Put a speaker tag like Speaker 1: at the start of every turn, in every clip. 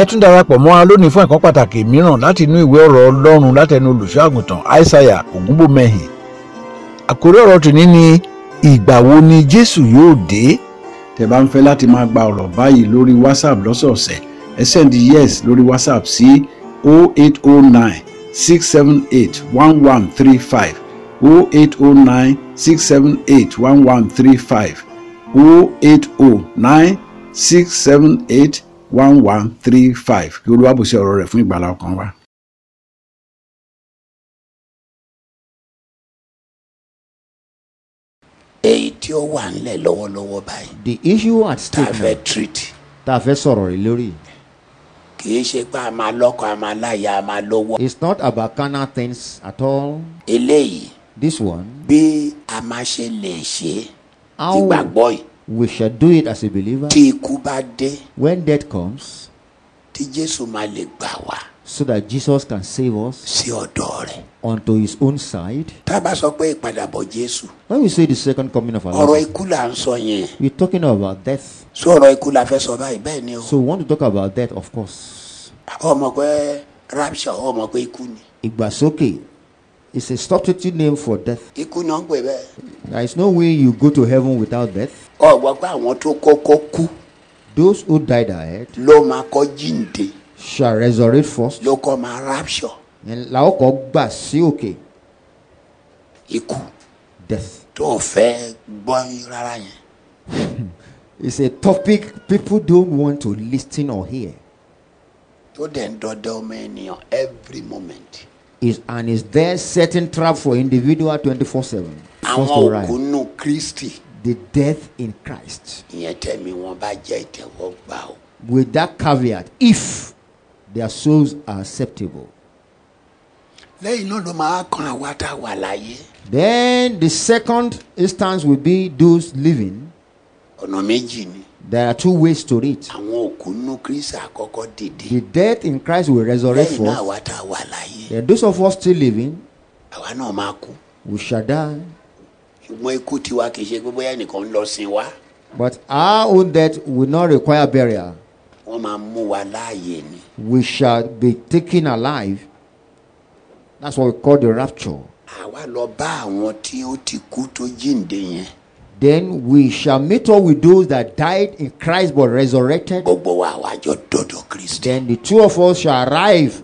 Speaker 1: ẹ tún darapọ̀ mọ́ wa lónìí fún ẹ̀kọ́ pàtàkì mìíràn láti inú ìwé ọ̀rọ̀ ọlọ́run látẹnu olùṣọ́àgùntàn aishaiya ògúnbòmẹ́hìn àkórí ọ̀rọ̀ tòní ni ìgbà wo ni jésù yóò dé
Speaker 2: tẹ́ bá ń fẹ́ láti máa gba ọ̀rọ̀ báyìí lórí whatsapp lọ́sọ̀ọ̀sẹ̀ ẹ send yes lórí whatsapp sí 0809 678 1135 0809 678 1135 0809 678 1135 kí olúwa bùsí ọ̀rọ̀ rẹ̀ fún ìgbàlá ọkàn wa.
Speaker 3: èyí tí ó wà ńlẹ̀ lọ́wọ́lọ́wọ́ báyìí
Speaker 4: The issue at
Speaker 3: tá
Speaker 4: stake
Speaker 3: a fẹ́
Speaker 4: now
Speaker 3: treat
Speaker 4: tá a fẹ́ sọ̀rọ̀ rẹ̀ lórí
Speaker 3: kì í ṣe pé a máa lọ́kọ a máa láya a máa lówó
Speaker 4: is not about carnal things at all.
Speaker 3: eléyìí
Speaker 4: This one,
Speaker 3: bí a máa ṣe lè ṣe
Speaker 4: How?
Speaker 3: ìgbàgbọ́ yìí
Speaker 4: we shall do it as a believer.
Speaker 3: tí ikú bá dé
Speaker 4: When death comes,
Speaker 3: tí jésù máa lè gbà wá
Speaker 4: so that Jesus can save us
Speaker 3: sí ọ̀dọ̀ rẹ̀
Speaker 4: unto his own side.
Speaker 3: tá a bá sọ pé ìpadàbọ̀ jésù
Speaker 4: When we say the second coming of our
Speaker 3: ọ̀rọ̀
Speaker 4: Lord,
Speaker 3: ikú là ń sọ yẹn
Speaker 4: we're talking about death.
Speaker 3: sọ ọ̀rọ̀ ikú la fẹ́ sọ báyìí bẹ́ẹ̀ ni o
Speaker 4: So we want to talk about death, of course.
Speaker 3: ọmọ pé rapture ọmọ pé ikú ni
Speaker 4: Igbasoke is a substitute name for death.
Speaker 3: ikú náà ń pè bẹ́ẹ̀
Speaker 4: There is no way you go to heaven without death.
Speaker 3: ọ̀gbọ́n pé àwọn tó kọ́kọ́ kú
Speaker 4: Those who died ahead
Speaker 3: ló máa kọ́ jíǹde
Speaker 4: shall resurrect first.
Speaker 3: ló kọ́ máa rapture
Speaker 4: And laoko gba si oke
Speaker 3: ikú
Speaker 4: death.
Speaker 3: tó o fẹ́ gbọ́ rárá yẹn
Speaker 4: It's a topic people don't want to listen or hear.
Speaker 3: tó dẹ̀ ń dọdẹ ọmọ ènìyàn every moment.
Speaker 4: Is and is there certain trap for individual twenty four seven?
Speaker 3: àwọn òkúnnù kristi
Speaker 4: the death in Christ
Speaker 3: ìyẹn tẹ̀mí wọn bá jẹ́ ìtẹ̀wọ́gbà o
Speaker 4: with that caveat if their souls are acceptable.
Speaker 3: lẹ́yìn náà ló máa kan àwa tá a wà láyé
Speaker 4: Then the second instance will be those living.
Speaker 3: ọ̀nà méjì ni
Speaker 4: There are two ways to it.
Speaker 3: àwọn òkúnnù kristi àkọ́kọ́ dìde
Speaker 4: The death in Christ will resurrect
Speaker 3: lẹ́yìn náà
Speaker 4: first.
Speaker 3: àwa tá a wà láyé
Speaker 4: Then those of us still living,
Speaker 3: àwa náà máa kú
Speaker 4: we shall die.
Speaker 3: ṣùgbọ́n ikú tiwa kì í ṣe pé bóyá ẹnìkan ń lọ sin wa
Speaker 4: But our own death will not require burial.
Speaker 3: wọ́n máa mú wa láàyè ni
Speaker 4: We shall be taken alive. That's what we call the rapture.
Speaker 3: àwa lọ bá àwọn tí ó ti kú tó jíǹde yẹn
Speaker 4: Then we shall meet up with those that died in Christ but resurrected.
Speaker 3: gbogbo wa àwa jọ dọ̀dọ̀ kristi
Speaker 4: Then the two of us shall arrive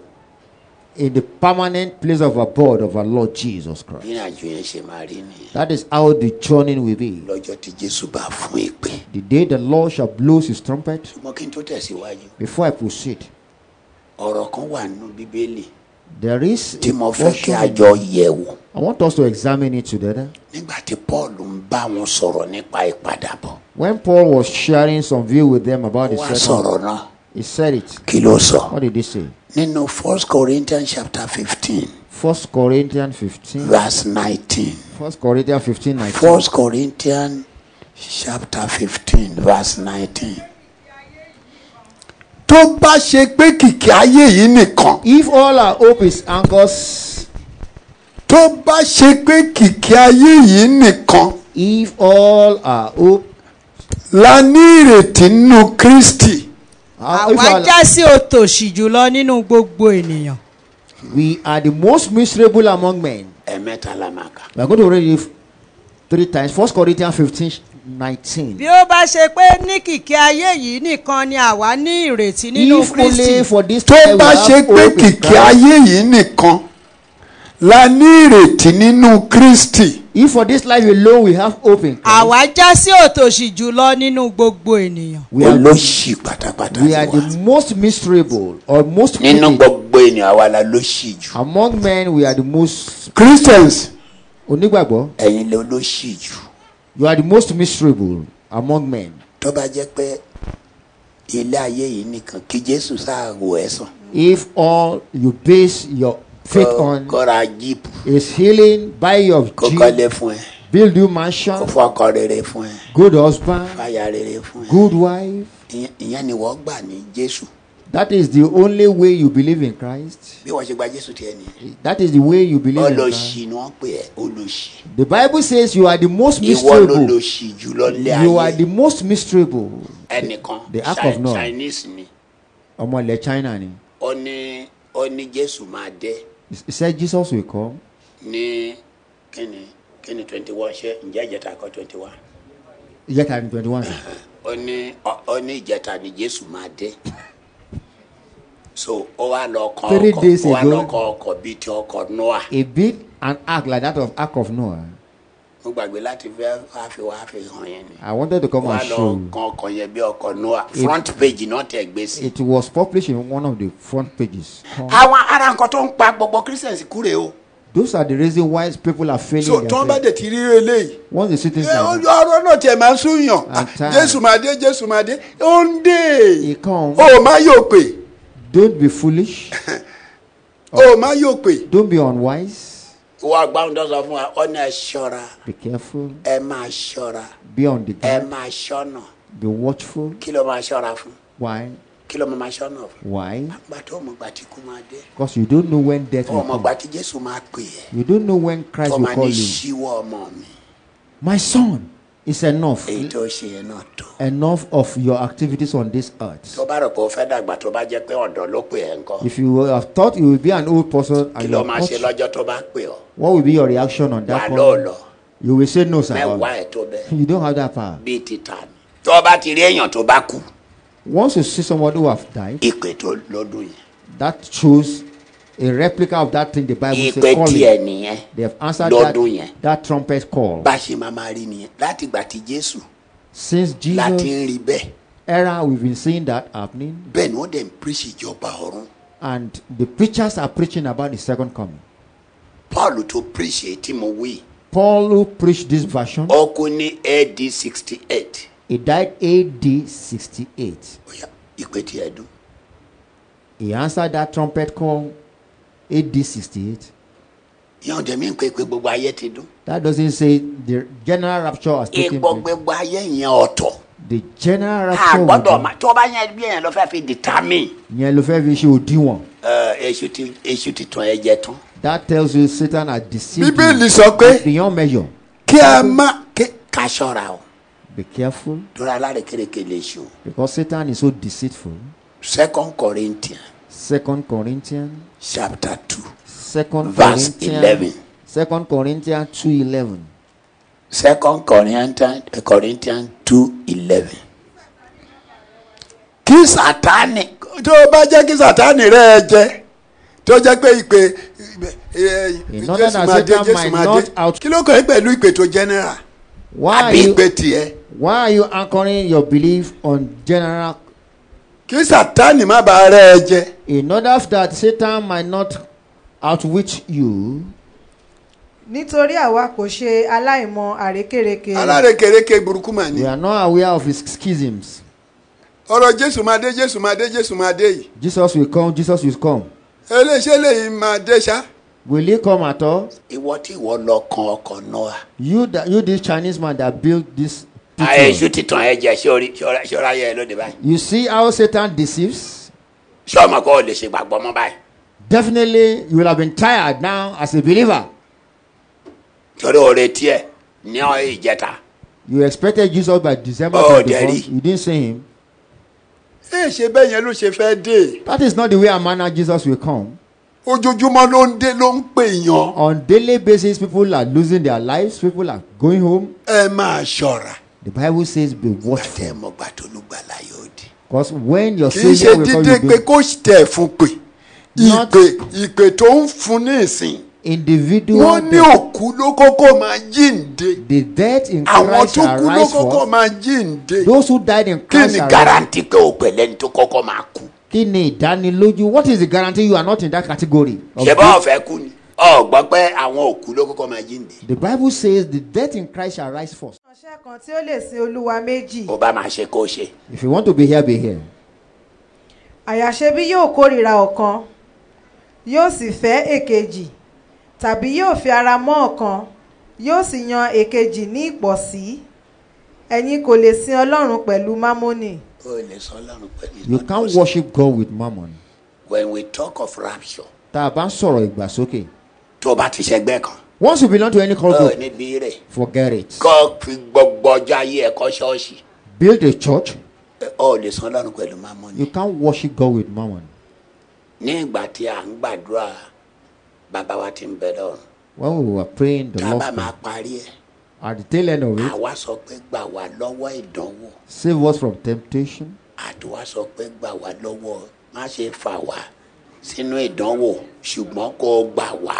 Speaker 4: in the permanent place of abode of our Lord Jesus Christ.
Speaker 3: nínú àjò yẹn ṣe máa rí nìyẹn.
Speaker 4: That is how the journey will be.
Speaker 3: lọ́jọ́ tí jésù bá fún ìpè.
Speaker 4: The day the Lord shall blow his trumpet.
Speaker 3: ṣùgbọ́n kí n tó tẹ̀síwájú
Speaker 4: Before I proceed,
Speaker 3: ọ̀rọ̀ kan wà nínú bíbélì
Speaker 4: there is. a
Speaker 3: tí mo fẹ́ kí
Speaker 4: portion
Speaker 3: a
Speaker 4: of-
Speaker 3: jọ yẹ̀ wò.
Speaker 4: I want us to examine it together.
Speaker 3: nígbà tí paul ń bá wọn sọ̀rọ̀ nípa ìpadàbọ̀
Speaker 4: When Paul was sharing some view with them about the
Speaker 3: wá
Speaker 4: second,
Speaker 3: sọ̀rọ̀ náà
Speaker 4: he said it.
Speaker 3: kí ló sọ.
Speaker 4: What did he say?
Speaker 3: nínú first corinthians chapter fifteen
Speaker 4: First Corinthians 15.
Speaker 3: verse nineteen
Speaker 4: First Corinthians 15, 19.
Speaker 3: first corinthians chapter fifteen verse nineteen. tó bá ṣe pé kìkì ayé yìí nìkan
Speaker 4: If all our hope is anchors,
Speaker 3: tó bá ṣe pé kìkì ayé yìí nìkan
Speaker 4: if all our hope
Speaker 3: la ní ìrètí nínú kristi
Speaker 4: Uh, if
Speaker 5: àwa
Speaker 4: our-
Speaker 5: já sí òtòṣì jùlọ nínú gbogbo ènìyàn.
Speaker 4: we are the most miserable among men.
Speaker 3: ẹ̀mẹ́ta la máa kà
Speaker 4: We are going to read it three times. First Corinthians 15,
Speaker 5: bí
Speaker 4: 19.
Speaker 5: ó bá ṣe pé ní kìkì ayé yìí nìkan ni àwa ní ìrètí nínú
Speaker 4: If only
Speaker 5: kristi
Speaker 4: for this
Speaker 3: tó
Speaker 4: time we
Speaker 3: bá
Speaker 4: have
Speaker 3: ṣe
Speaker 4: hope
Speaker 3: pé
Speaker 4: in
Speaker 3: kìkì
Speaker 4: Christ.
Speaker 3: ayé yìí nìkan la ní ìrètí nínú kristi
Speaker 4: If for this life alone we have hope in Christ,
Speaker 5: àwa já sí òtòṣì jùlọ nínú gbogbo ènìyàn.
Speaker 4: we are,
Speaker 3: olóṣì pátápátá
Speaker 4: we are the most miserable or most
Speaker 3: nínú
Speaker 4: wicked.
Speaker 3: gbogbo ènìyàn àwa la lóṣì jù.
Speaker 4: among men we are the most
Speaker 3: christians
Speaker 4: onígbàgbọ́
Speaker 3: ẹ̀yin lè olóṣì jù
Speaker 4: you are the most miserable among men.
Speaker 3: tó bá jẹ́ pé ilé ayé yìí nìkan kí jésù sáàwò ẹ̀ sàn.
Speaker 4: If all you base your faith on
Speaker 3: kọ́ra jíìpù
Speaker 4: is healing, buy your
Speaker 3: kó
Speaker 4: jeep,
Speaker 3: kọ́lé fún ẹ
Speaker 4: build you
Speaker 3: kó
Speaker 4: mansion,
Speaker 3: fọkọ rere fún ẹ
Speaker 4: good husband,
Speaker 3: fàyà rere fún ẹ.
Speaker 4: good wife.
Speaker 3: ìyẹn- ìyẹn ni wọ́n gbà ní jésù
Speaker 4: That is the only way you believe in Christ.
Speaker 3: bí wọ́n ṣe gba jésù tiẹ̀ nìyẹn.
Speaker 4: That is the way you believe in Christ.
Speaker 3: olóṣì ni wọ́n pè ẹ́ olóṣì.
Speaker 4: The Bible says you are the most
Speaker 3: ìwọ ló
Speaker 4: miserable.
Speaker 3: lóṣì jù lọ lé
Speaker 4: You are
Speaker 3: ayé
Speaker 4: the most miserable.
Speaker 3: ẹnìkan
Speaker 4: the act of
Speaker 3: Chi-
Speaker 4: Noah.
Speaker 3: chinese ni
Speaker 4: ọmọ ilẹ̀ china ni
Speaker 3: ó ní ó ní jésù máa dé
Speaker 4: he said jesus will come
Speaker 3: ní kíni kíni twenty one ṣe ǹjẹ́ ìjẹta kọ́ twenty one
Speaker 4: ìjẹta ni twenty one
Speaker 3: ó ní ó- ó ní ìjẹta ni jésù máa dé so ó wá lọ kọ
Speaker 4: Three
Speaker 3: ọkọ
Speaker 4: days
Speaker 3: ó wá
Speaker 4: ago.
Speaker 3: lọ kọ ọkọ bíi ti ọkọ noah
Speaker 4: he built an ark like that of ark of noah
Speaker 3: mo gbàgbé láti fẹ́ wá fi wá fi hàn yẹn ni.
Speaker 4: i wanted to come
Speaker 3: wá
Speaker 4: and
Speaker 3: lọ
Speaker 4: show you
Speaker 3: kan ọkọ yẹn bí ọkọ noah front page náà tẹ gbé sí.
Speaker 4: it was published in one of the front pages
Speaker 3: àwọn ará nǹkan tó ń pa gbogbo christians kúrè o.
Speaker 4: those are the reason why people are failing
Speaker 3: so
Speaker 4: in
Speaker 3: tí
Speaker 4: their
Speaker 3: wọ́n bá oh,
Speaker 4: faith
Speaker 3: dẹ̀ ti rí eléyìí.
Speaker 4: once they see things
Speaker 3: ẹ,
Speaker 4: like
Speaker 3: ojú
Speaker 4: that
Speaker 3: ọ̀rọ̀ náà tiẹ̀ máa ń súnyàn
Speaker 4: And time.
Speaker 3: jésù máa dé jésù máa dé ó ń
Speaker 4: he
Speaker 3: dè
Speaker 4: come
Speaker 3: ó Oh, má yóò pè
Speaker 4: don't be foolish
Speaker 3: ó Oh, má yóò pè.
Speaker 4: don't be unwise
Speaker 3: ìwọ àgbáhùn tó sọ fún wa ọ ní ẹ ṣọra
Speaker 4: be careful
Speaker 3: ẹ máa ṣọra
Speaker 4: be on the
Speaker 3: ẹ
Speaker 4: guard
Speaker 3: máa ṣọnà
Speaker 4: be watchful
Speaker 3: kí ló máa ṣọra fún
Speaker 4: why
Speaker 3: kí ló máa ṣọnà fún.
Speaker 4: why
Speaker 3: àgbà tó mọ̀ gbà tí kú máa dé
Speaker 4: because you don't know when death will
Speaker 3: ọmọ
Speaker 4: come
Speaker 3: gbà tí jésù máa pè é
Speaker 4: you don't know when christ
Speaker 3: tó
Speaker 4: will
Speaker 3: máa ní
Speaker 4: call you
Speaker 3: ṣíwọ́ ọmọ mi.
Speaker 4: my son it's enough
Speaker 3: èyí tó ṣe yẹn náà tó.
Speaker 4: enough of your activities on this earth
Speaker 3: tó bá rò pé o fẹ́ dàgbà tó bá jẹ́ pé ọ̀dọ́ ló pè ẹ́ ńkọ́
Speaker 4: if you would have thought you will be an old person
Speaker 3: kí
Speaker 4: and you
Speaker 3: ló
Speaker 4: are
Speaker 3: máa ṣe
Speaker 4: not,
Speaker 3: lọ́jọ́ tó bá pè ọ́
Speaker 4: what will be your reaction on
Speaker 3: wà
Speaker 4: that one
Speaker 3: lọ́ọ̀lọ́
Speaker 4: you will say no sir
Speaker 3: mẹ́wàá ẹ̀ tó bẹ́ẹ̀
Speaker 4: you don't have that power
Speaker 3: bíi ti tà mí. tó o bá ti rí èèyàn tó bá kú
Speaker 4: once you see somebody who have died
Speaker 3: ìpè tó lọ́dún yẹn
Speaker 4: that shows a replica of that thing the bible
Speaker 3: ìpè
Speaker 4: says
Speaker 3: tiẹ̀
Speaker 4: calling
Speaker 3: nìyẹn
Speaker 4: they have answered
Speaker 3: Lọ́dún
Speaker 4: that,
Speaker 3: yẹn.
Speaker 4: that trumpet call
Speaker 3: bá a ṣe máa máa rí nìyẹn láti ìgbà tí jésù
Speaker 4: since
Speaker 3: láti
Speaker 4: jesus
Speaker 3: ń rí bẹ́ẹ̀
Speaker 4: era we've been seeing that happening
Speaker 3: bẹ́ẹ̀ ni wọ́n dẹ̀ ń píríṣì ìjọba ọ̀run
Speaker 4: and the preachers are preaching about the second coming
Speaker 3: paul tó píríṣì èyí tí mo wí
Speaker 4: paul who preached this version
Speaker 3: ó kú ní ad sixty eight
Speaker 4: He died AD 68.
Speaker 3: ìpè tiẹ̀ dùn
Speaker 4: He answered that trumpet call AD 68.
Speaker 3: ìyẹn ò dẹ̀ mí pé pé gbogbo ayé ti dùn
Speaker 4: That doesn't say the general rapture has taken
Speaker 3: ipò
Speaker 4: place.
Speaker 3: gbogbo ayé yẹn ọ̀tọ̀.
Speaker 4: The general
Speaker 3: a
Speaker 4: rapture. will
Speaker 3: gbọ́dọ̀
Speaker 4: be-
Speaker 3: ma tó bá yẹn bí èèyàn lọ fẹ́ fi determine.
Speaker 4: Ìyẹn ló fẹ́ fi ṣe òdiwọ̀n.
Speaker 3: ẹ, èṣù ti èṣù ti tàn ẹ jẹ tán.
Speaker 4: That tells you Satan has deceived
Speaker 3: Bíbélì
Speaker 4: you
Speaker 3: sọ pé-
Speaker 4: beyond measure.
Speaker 3: kí a má kí- ká ṣọ́ra o
Speaker 4: Be careful
Speaker 3: torí alárekereke lè ṣù.
Speaker 4: because Satan is so deceitful.
Speaker 3: second corinthians
Speaker 4: Second Corinthians,
Speaker 3: chapter two
Speaker 4: Second
Speaker 3: Verse
Speaker 4: Corinthians,
Speaker 3: 11.
Speaker 4: Second Corinthians two eleven.
Speaker 3: second corinthians corinthians two eleven. kí sátani tó o bá jẹ́ kí sátani rẹ̀ ẹ jẹ́ tó jẹ́ pé ìpè ẹ,
Speaker 4: In order
Speaker 3: jésù
Speaker 4: that
Speaker 3: máa dé
Speaker 4: Satan
Speaker 3: jésù
Speaker 4: might
Speaker 3: máa
Speaker 4: not
Speaker 3: dé
Speaker 4: out-
Speaker 3: kí ló kọ́ ẹ pẹ̀lú ìpè tó general
Speaker 4: Why are
Speaker 3: àbí
Speaker 4: you
Speaker 3: ìpè tiẹ̀.
Speaker 4: Why are you anchoring your belief on general
Speaker 3: kí sátani má bàa rẹ ẹ jẹ
Speaker 4: in order that Satan might not outwit you?
Speaker 5: nítorí àwa kò ṣe aláìmọ àrékérekè rẹ̀.
Speaker 3: alárekereke burúkú mà
Speaker 4: We
Speaker 3: ní.
Speaker 4: are not aware of his schisms.
Speaker 3: ọ̀rọ̀ jésù máa dé jésù máa dé jésù máa dé yìí
Speaker 4: Jesus will come, Jesus will come.
Speaker 3: eléṣẹ́ lèyí máa dé ṣá.
Speaker 4: Will he come at all?
Speaker 3: ìwọ tí ìwọ lọ kan ọkọ̀ noah.
Speaker 4: You that you this Chinese man that built this picture.
Speaker 3: àìsù títàn ẹ̀jẹ̀ sórí ṣọ́ra ayé ẹ lóde báyìí.
Speaker 4: You see how Satan deceives?
Speaker 3: sọ́ọ̀mù kọ́ ọ lè ṣe gbàgbọ́ mọ́ báyìí.
Speaker 4: Definitely you will have been tired now as a believer.
Speaker 3: torí o retí ẹ ní ọ ìjẹta.
Speaker 4: You expected Jesus by December
Speaker 3: Oh,
Speaker 4: 21st.
Speaker 3: Daddy.
Speaker 4: You didn't see him.
Speaker 3: ẹ ṣe bẹ́ẹ̀ yẹn ló ṣe fẹ́ dé
Speaker 4: That is not the way and manner Jesus will come.
Speaker 3: ojoojúmọ́ ló ń dé ló ń pè yan
Speaker 4: On daily basis, people are losing their lives. People are going home.
Speaker 3: ẹ máa ṣọ́ra.
Speaker 4: The Bible says, "Be
Speaker 3: tẹ́ ẹ
Speaker 4: watchful,"
Speaker 3: mọ̀ gbà tó ló gbà láyé òde.
Speaker 4: because when your
Speaker 3: kì í ṣe
Speaker 4: savior will call
Speaker 3: dídé
Speaker 4: you,
Speaker 3: pé
Speaker 4: be
Speaker 3: kó tẹ̀ fún pé
Speaker 4: Not-
Speaker 3: ìpè ìpè tó ń fún ní ìsìn
Speaker 4: individual
Speaker 3: wọ́n ní
Speaker 4: death,
Speaker 3: òkú ló kọ́kọ́ máa jíǹde
Speaker 4: the death in
Speaker 3: àwọn
Speaker 4: Christ
Speaker 3: tó
Speaker 4: shall
Speaker 3: kú ló
Speaker 4: rise
Speaker 3: kọ́kọ́
Speaker 4: forth.
Speaker 3: máa jíǹde
Speaker 4: Those who died in
Speaker 3: kí
Speaker 4: Christ
Speaker 3: ni
Speaker 4: shall rise.
Speaker 3: garanti pé o pẹ̀lẹ́ ní tó kọ́kọ́ máa kú.
Speaker 4: Kí ni ìdánilójú? What is the guarantee you are not in that category? of
Speaker 3: ṣé bá
Speaker 4: death?
Speaker 3: ọ̀fẹ́ kú ni ọ gbọ́ pé àwọn òkú ló kọ́kọ́ máa jíǹde
Speaker 4: The Bible says, "The death in Christ shall rise first."
Speaker 5: ìránṣẹ́ kan tí ó lè sin olúwa méjì
Speaker 3: bó bá máa ṣe kó ṣe.
Speaker 4: If you want to be here, be here.
Speaker 5: àyàṣe bí yóò kórìíra ọ̀kan yóò sì fẹ́ èkejì tàbí yóò fi ara mọ́ ọ̀kan yóò sì yan èkejì ní ìpọ̀sí ẹ̀yin kò lè sin ọlọ́run pẹ̀lú mámónì.
Speaker 3: o lè sọ ọlọ́run pẹ̀lú
Speaker 4: You can't worship God with mammon.
Speaker 3: when we talk of rapture
Speaker 4: Tá a bá ń sọ̀rọ̀ ìgbàsókè.
Speaker 3: tó o bá ti ṣẹgbẹ́ kan
Speaker 4: Once you belong to any cult
Speaker 3: ọ
Speaker 4: group,
Speaker 3: níbi rẹ̀
Speaker 4: forget it.
Speaker 3: kọ́ fi gbogbo ọjọ́ ayé ẹ̀kọ́ ṣọ́ọ̀ṣì
Speaker 4: Build a church.
Speaker 3: ẹ, ọ ò lè san ọlọ́run pẹ̀lú mámọ́nì.
Speaker 4: You can't worship God with mammon.
Speaker 3: ní ìgbà tí à ń gbàdúrà bàbá wa ti ń bẹ lọ́run
Speaker 4: When we were praying the
Speaker 3: tá a bá
Speaker 4: Lord's
Speaker 3: máa
Speaker 4: Prayer,
Speaker 3: parí ẹ̀
Speaker 4: at the tail end of it,
Speaker 3: àwa sọ pé gbà wá lọ́wọ́ ìdánwò
Speaker 4: save us from temptation.
Speaker 3: àtiwá sọ pé gbà wá lọ́wọ́ má ṣe fà wá sínú ìdánwò ṣùgbọ́n kó o gbà wá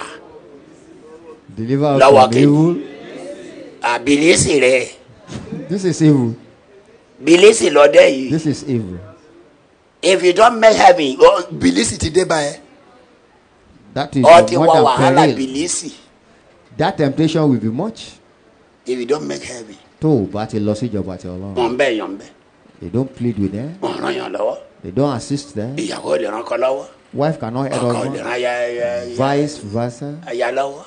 Speaker 4: Deliver us
Speaker 3: Lord,
Speaker 4: from
Speaker 3: okay.
Speaker 4: evil.
Speaker 3: àbílísì rẹ̀
Speaker 4: This is evil.
Speaker 3: bílísì lọ́dẹ̀ yìí.
Speaker 4: This is evil.
Speaker 3: if you don't make heaven oh, bilisi ti dé báyẹn
Speaker 4: That is
Speaker 3: ọ ti
Speaker 4: more
Speaker 3: wá
Speaker 4: than
Speaker 3: wàhálà
Speaker 4: peril.
Speaker 3: bilisi
Speaker 4: That temptation will be much.
Speaker 3: if you don't make heaven
Speaker 4: tó o bá ti lọ síjọba ti ọlọ́run
Speaker 3: wọn bẹ yàn bẹ
Speaker 4: they don't plead with them
Speaker 3: wọn ràn yàn lọ́wọ́
Speaker 4: they don't assist them
Speaker 3: ìyàwó lè ràn kọ lọ́wọ́
Speaker 4: wife cannot help
Speaker 3: ọkọ lè
Speaker 4: husband
Speaker 3: ràn aya aya- aya-
Speaker 4: vice versa
Speaker 3: aya lọ́wọ́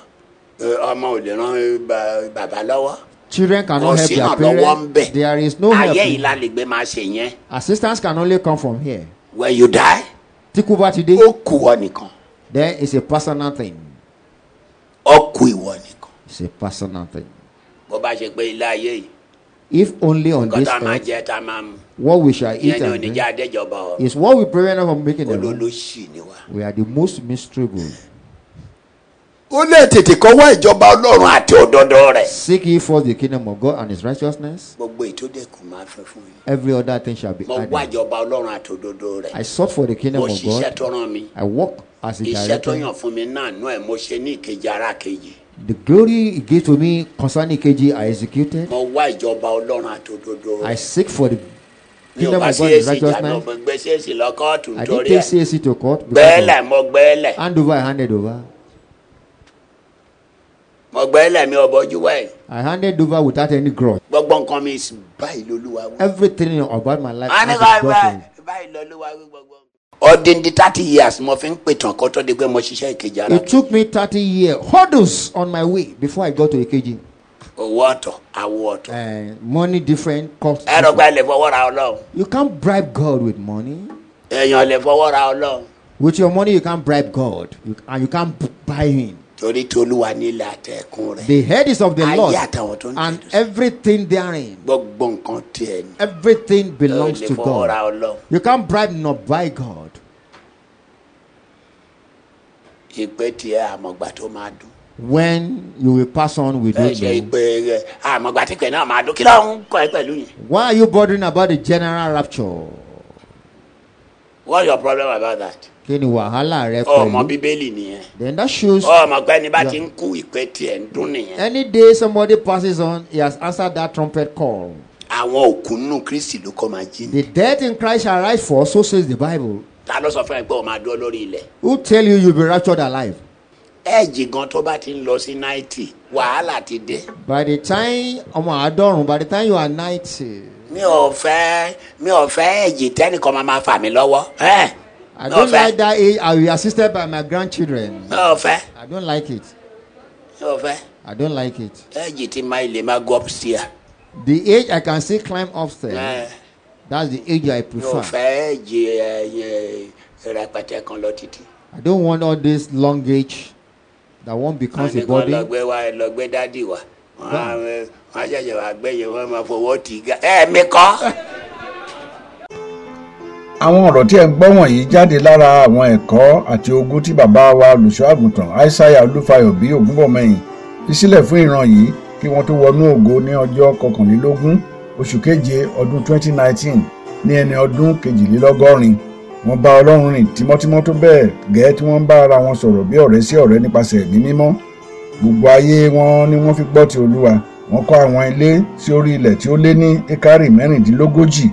Speaker 3: Ẹ, ọmọ ò lè ràn ẹ, ba- bàbá lọ́wọ́
Speaker 4: children
Speaker 3: kò
Speaker 4: cannot help
Speaker 3: sí
Speaker 4: their
Speaker 3: ràn lọ́wọ́ ń bẹ
Speaker 4: parents there is no
Speaker 3: ayé yìí
Speaker 4: help
Speaker 3: la lè gbé máa ṣe yẹn
Speaker 4: assistance can only come from here
Speaker 3: when you die
Speaker 4: tí kú bá ti dé
Speaker 3: ó kù ọ nìkan
Speaker 4: then it's a personal thing
Speaker 3: ó kù ìwọ nìkan
Speaker 4: it's a personal thing
Speaker 3: bó bá ṣe pé ilé ayé yìí
Speaker 4: if only on
Speaker 3: nǹkan
Speaker 4: this
Speaker 3: tá a máa
Speaker 4: earth
Speaker 3: jẹ tá a máa mu
Speaker 4: what we shall
Speaker 3: ìyẹn
Speaker 4: eat
Speaker 3: ni ò
Speaker 4: and
Speaker 3: ní jẹ
Speaker 4: drink
Speaker 3: adéjọba ọ
Speaker 4: is what we prevent us from making the world
Speaker 3: olólùsì ni wa.
Speaker 4: we are the most miserable
Speaker 3: ó lè tètè kọ́ wá ìjọba ọlọ́run àti òdodo rẹ̀.
Speaker 4: seek ye first the kingdom of God and his righteousness
Speaker 3: gbogbo ètò dẹ́kun máa fẹ́ fún yín.
Speaker 4: every other thing shall be
Speaker 3: mo wá
Speaker 4: added
Speaker 3: ìjọba ọlọ́run àti òdodo rẹ̀.
Speaker 4: I sought for the kingdom
Speaker 3: mo
Speaker 4: of
Speaker 3: ṣiṣẹ́
Speaker 4: God
Speaker 3: tó rán mi.
Speaker 4: I walk as a
Speaker 3: iṣẹ́ tó
Speaker 4: director.
Speaker 3: yàn fún mi náà nú ẹ̀ mo ṣe ní ìkejì ara kejì.
Speaker 4: The glory he gave to me concerning KG, I executed.
Speaker 3: mo wá ìjọba ọlọ́run àti òdodo
Speaker 4: I
Speaker 3: rẹ̀.
Speaker 4: seek for the
Speaker 3: mi ò
Speaker 4: kingdom
Speaker 3: bá
Speaker 4: of
Speaker 3: sí
Speaker 4: God in
Speaker 3: èsì ìjànà
Speaker 4: righteousness.
Speaker 3: mo gbé sí èsì lọ́kọ́ọ̀tù
Speaker 4: I didn't
Speaker 3: torí
Speaker 4: take
Speaker 3: ẹ̀.
Speaker 4: CAC to court because
Speaker 3: gbẹ́lẹ̀
Speaker 4: of
Speaker 3: mo gbẹ́lẹ̀
Speaker 4: hand over, I handed over.
Speaker 3: mo gbẹ́lẹ̀ mi ò bójú wẹ̀.
Speaker 4: I handed over without any grudge.
Speaker 3: gbogbo nǹkan mi sì báyìí lolúwa wí.
Speaker 4: Everything about my life.
Speaker 3: a ní
Speaker 4: has
Speaker 3: ká
Speaker 4: been brought in.
Speaker 3: báyìí lolúwa wí gbogbo. ọ̀dìndín thirty years mo fi ń pètàn kó tó di pé mo ṣiṣẹ́ ìkejì ara
Speaker 4: It took me 30 years, hurdles on my way before I got to AKG.
Speaker 3: owó ọ̀tọ̀ àwọ̀ ọ̀tọ̀.
Speaker 4: And Uh, money different, cost.
Speaker 3: ẹ rọ pé ẹ
Speaker 4: different.
Speaker 3: lè fọwọ́ ra ọlọ́run
Speaker 4: You can't bribe God with money.
Speaker 3: èèyàn lè fọwọ́ ra ọlọ́run
Speaker 4: With your money, you can't bribe God. You, and you can't b- buy him.
Speaker 3: torí tolúwa nílẹ̀ àtẹ̀kùn rẹ̀
Speaker 4: The head is of the
Speaker 3: Ayé
Speaker 4: Lord,
Speaker 3: àtàwọn tó ń
Speaker 4: and
Speaker 3: tẹ̀dó sí.
Speaker 4: everything therein,
Speaker 3: gbogbo nǹkan tiẹ̀ ni
Speaker 4: everything
Speaker 3: ẹ
Speaker 4: belongs
Speaker 3: lè
Speaker 4: to
Speaker 3: fọwọ́ ra
Speaker 4: God.
Speaker 3: ọlọ́run
Speaker 4: You can't bribe nor buy God.
Speaker 3: ìpè tiẹ̀ àmọ̀gbà tó máa dùn
Speaker 4: When you will pass on, we
Speaker 3: ẹ
Speaker 4: don't
Speaker 3: ṣe
Speaker 4: know.
Speaker 3: ìpè rẹ̀ àmọ̀gbà tí pẹ̀ náà máa dùn kí ló ń kọ́ ẹ pẹ̀lú yẹn
Speaker 4: Why are you bothering about the general rapture?
Speaker 3: what's your problem about that
Speaker 4: Kí ni wàhálà rẹ
Speaker 3: ọmọ
Speaker 4: pẹ̀lú?
Speaker 3: bíbélì nìyẹn
Speaker 4: Then that shows
Speaker 3: ọmọ pé ẹni bá
Speaker 4: Yeah.
Speaker 3: ti ń kú ìpè tiẹ̀ ń dún nìyẹn
Speaker 4: any day somebody passes on, he has answered that trumpet call.
Speaker 3: àwọn òkú nù kristi ló kọ́ máa jí ni
Speaker 4: The dead in Christ shall rise for, so says the Bible.
Speaker 3: ta ló sọ fún ẹ pé o máa dúró lórí ilẹ̀
Speaker 4: Who tell you you'll be raptured alive?
Speaker 3: ẹ̀ẹ́jì gan tó bá ti ń lọ sí náìtì wàhálà ti dé.
Speaker 4: By the time, ọmọ àádọ́rùn, by the time you are 90,
Speaker 3: mi ò fẹ́ mi ò fẹ́ èjì tẹ́nìkan máa máa fà mí lọ́wọ́ ẹ́
Speaker 4: I
Speaker 3: mi ò
Speaker 4: don't
Speaker 3: fẹ́
Speaker 4: like that age. I will be assisted by my grandchildren.
Speaker 3: mi ò fẹ́
Speaker 4: I don't like it.
Speaker 3: mi ò fẹ́
Speaker 4: I don't like it.
Speaker 3: èjì tí máa ilé máa go upstairs
Speaker 4: The age I can still climb upstairs,
Speaker 3: ẹ́
Speaker 4: that's the age
Speaker 3: mi
Speaker 4: I
Speaker 3: ò
Speaker 4: prefer.
Speaker 3: fẹ́ èjì ẹ̀yìn rẹpẹtẹ kan lọ títí.
Speaker 4: I don't want all this long age that one becomes a
Speaker 3: wọ́n lọ
Speaker 4: body.
Speaker 3: gbé wa lọ gbé dádì wa wọ́n á wọ́n á ṣẹ̀ṣẹ̀ wá gbẹ̀yẹ̀ wọ́n máa fọwọ́ tì í ga ẹ̀ mi kọ́.
Speaker 1: àwọn ọ̀rọ̀ tí ẹ̀ ń gbọ́ wọ̀nyí jáde lára àwọn ẹ̀kọ́ àti ogún tí bàbá wa olùṣọ́àgùntàn aishaiya olúfayọ bí ògúnbọ̀mọyìn fi sílẹ̀ fún ìran yìí kí wọ́n tó wọnú ògo ní ọjọ́ kọkànlélógún oṣù keje ọdún 2019 ní ẹni ọdún kejìlélọ́gọ́rin wọ́n bá ọlọ́run rìn tímọ́tímọ́ tó bẹ́ẹ̀ gẹ́ tí wọ́n ń bá ara wọn sọ̀rọ̀ bí ọ̀rẹ́ sí ọ̀rẹ́ nípasẹ̀ ẹ̀mí mímọ́ gbogbo ayé wọn ni wọ́n fi gbọ́ ti olúwa wọ́n kọ́ àwọn ilé sí orí ilẹ̀ tí ó lé ní ekari mẹ́rìndínlógójì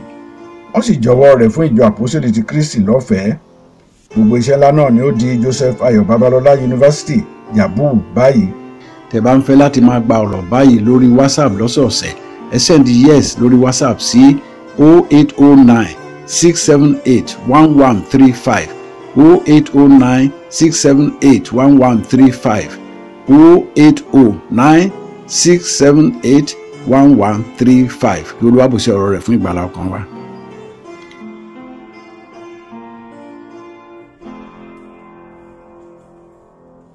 Speaker 1: wọ́n sì jọ̀wọ́ rẹ̀ fún ìjọ àpòsílẹ̀ ti kristi lọ́fẹ̀ẹ́ gbogbo iṣẹ́ ńlá náà ni ó di joseph ayọ̀ babalọ́lá yunifásitì yabu báyìí
Speaker 2: tẹ́ bá ń fẹ́ láti máa gba ọ̀rọ̀ báyìí lórí whatsapp lọ́sọ̀ọ̀sẹ̀ ẹ sẹ́ndí yes lórí whatsapp sí 0809 678 1135 0809 678 1135 0809 678 1135 kí olúwàbùsẹ̀ ọ̀rọ̀ rẹ̀ fún ìgbàlá ọkàn wa.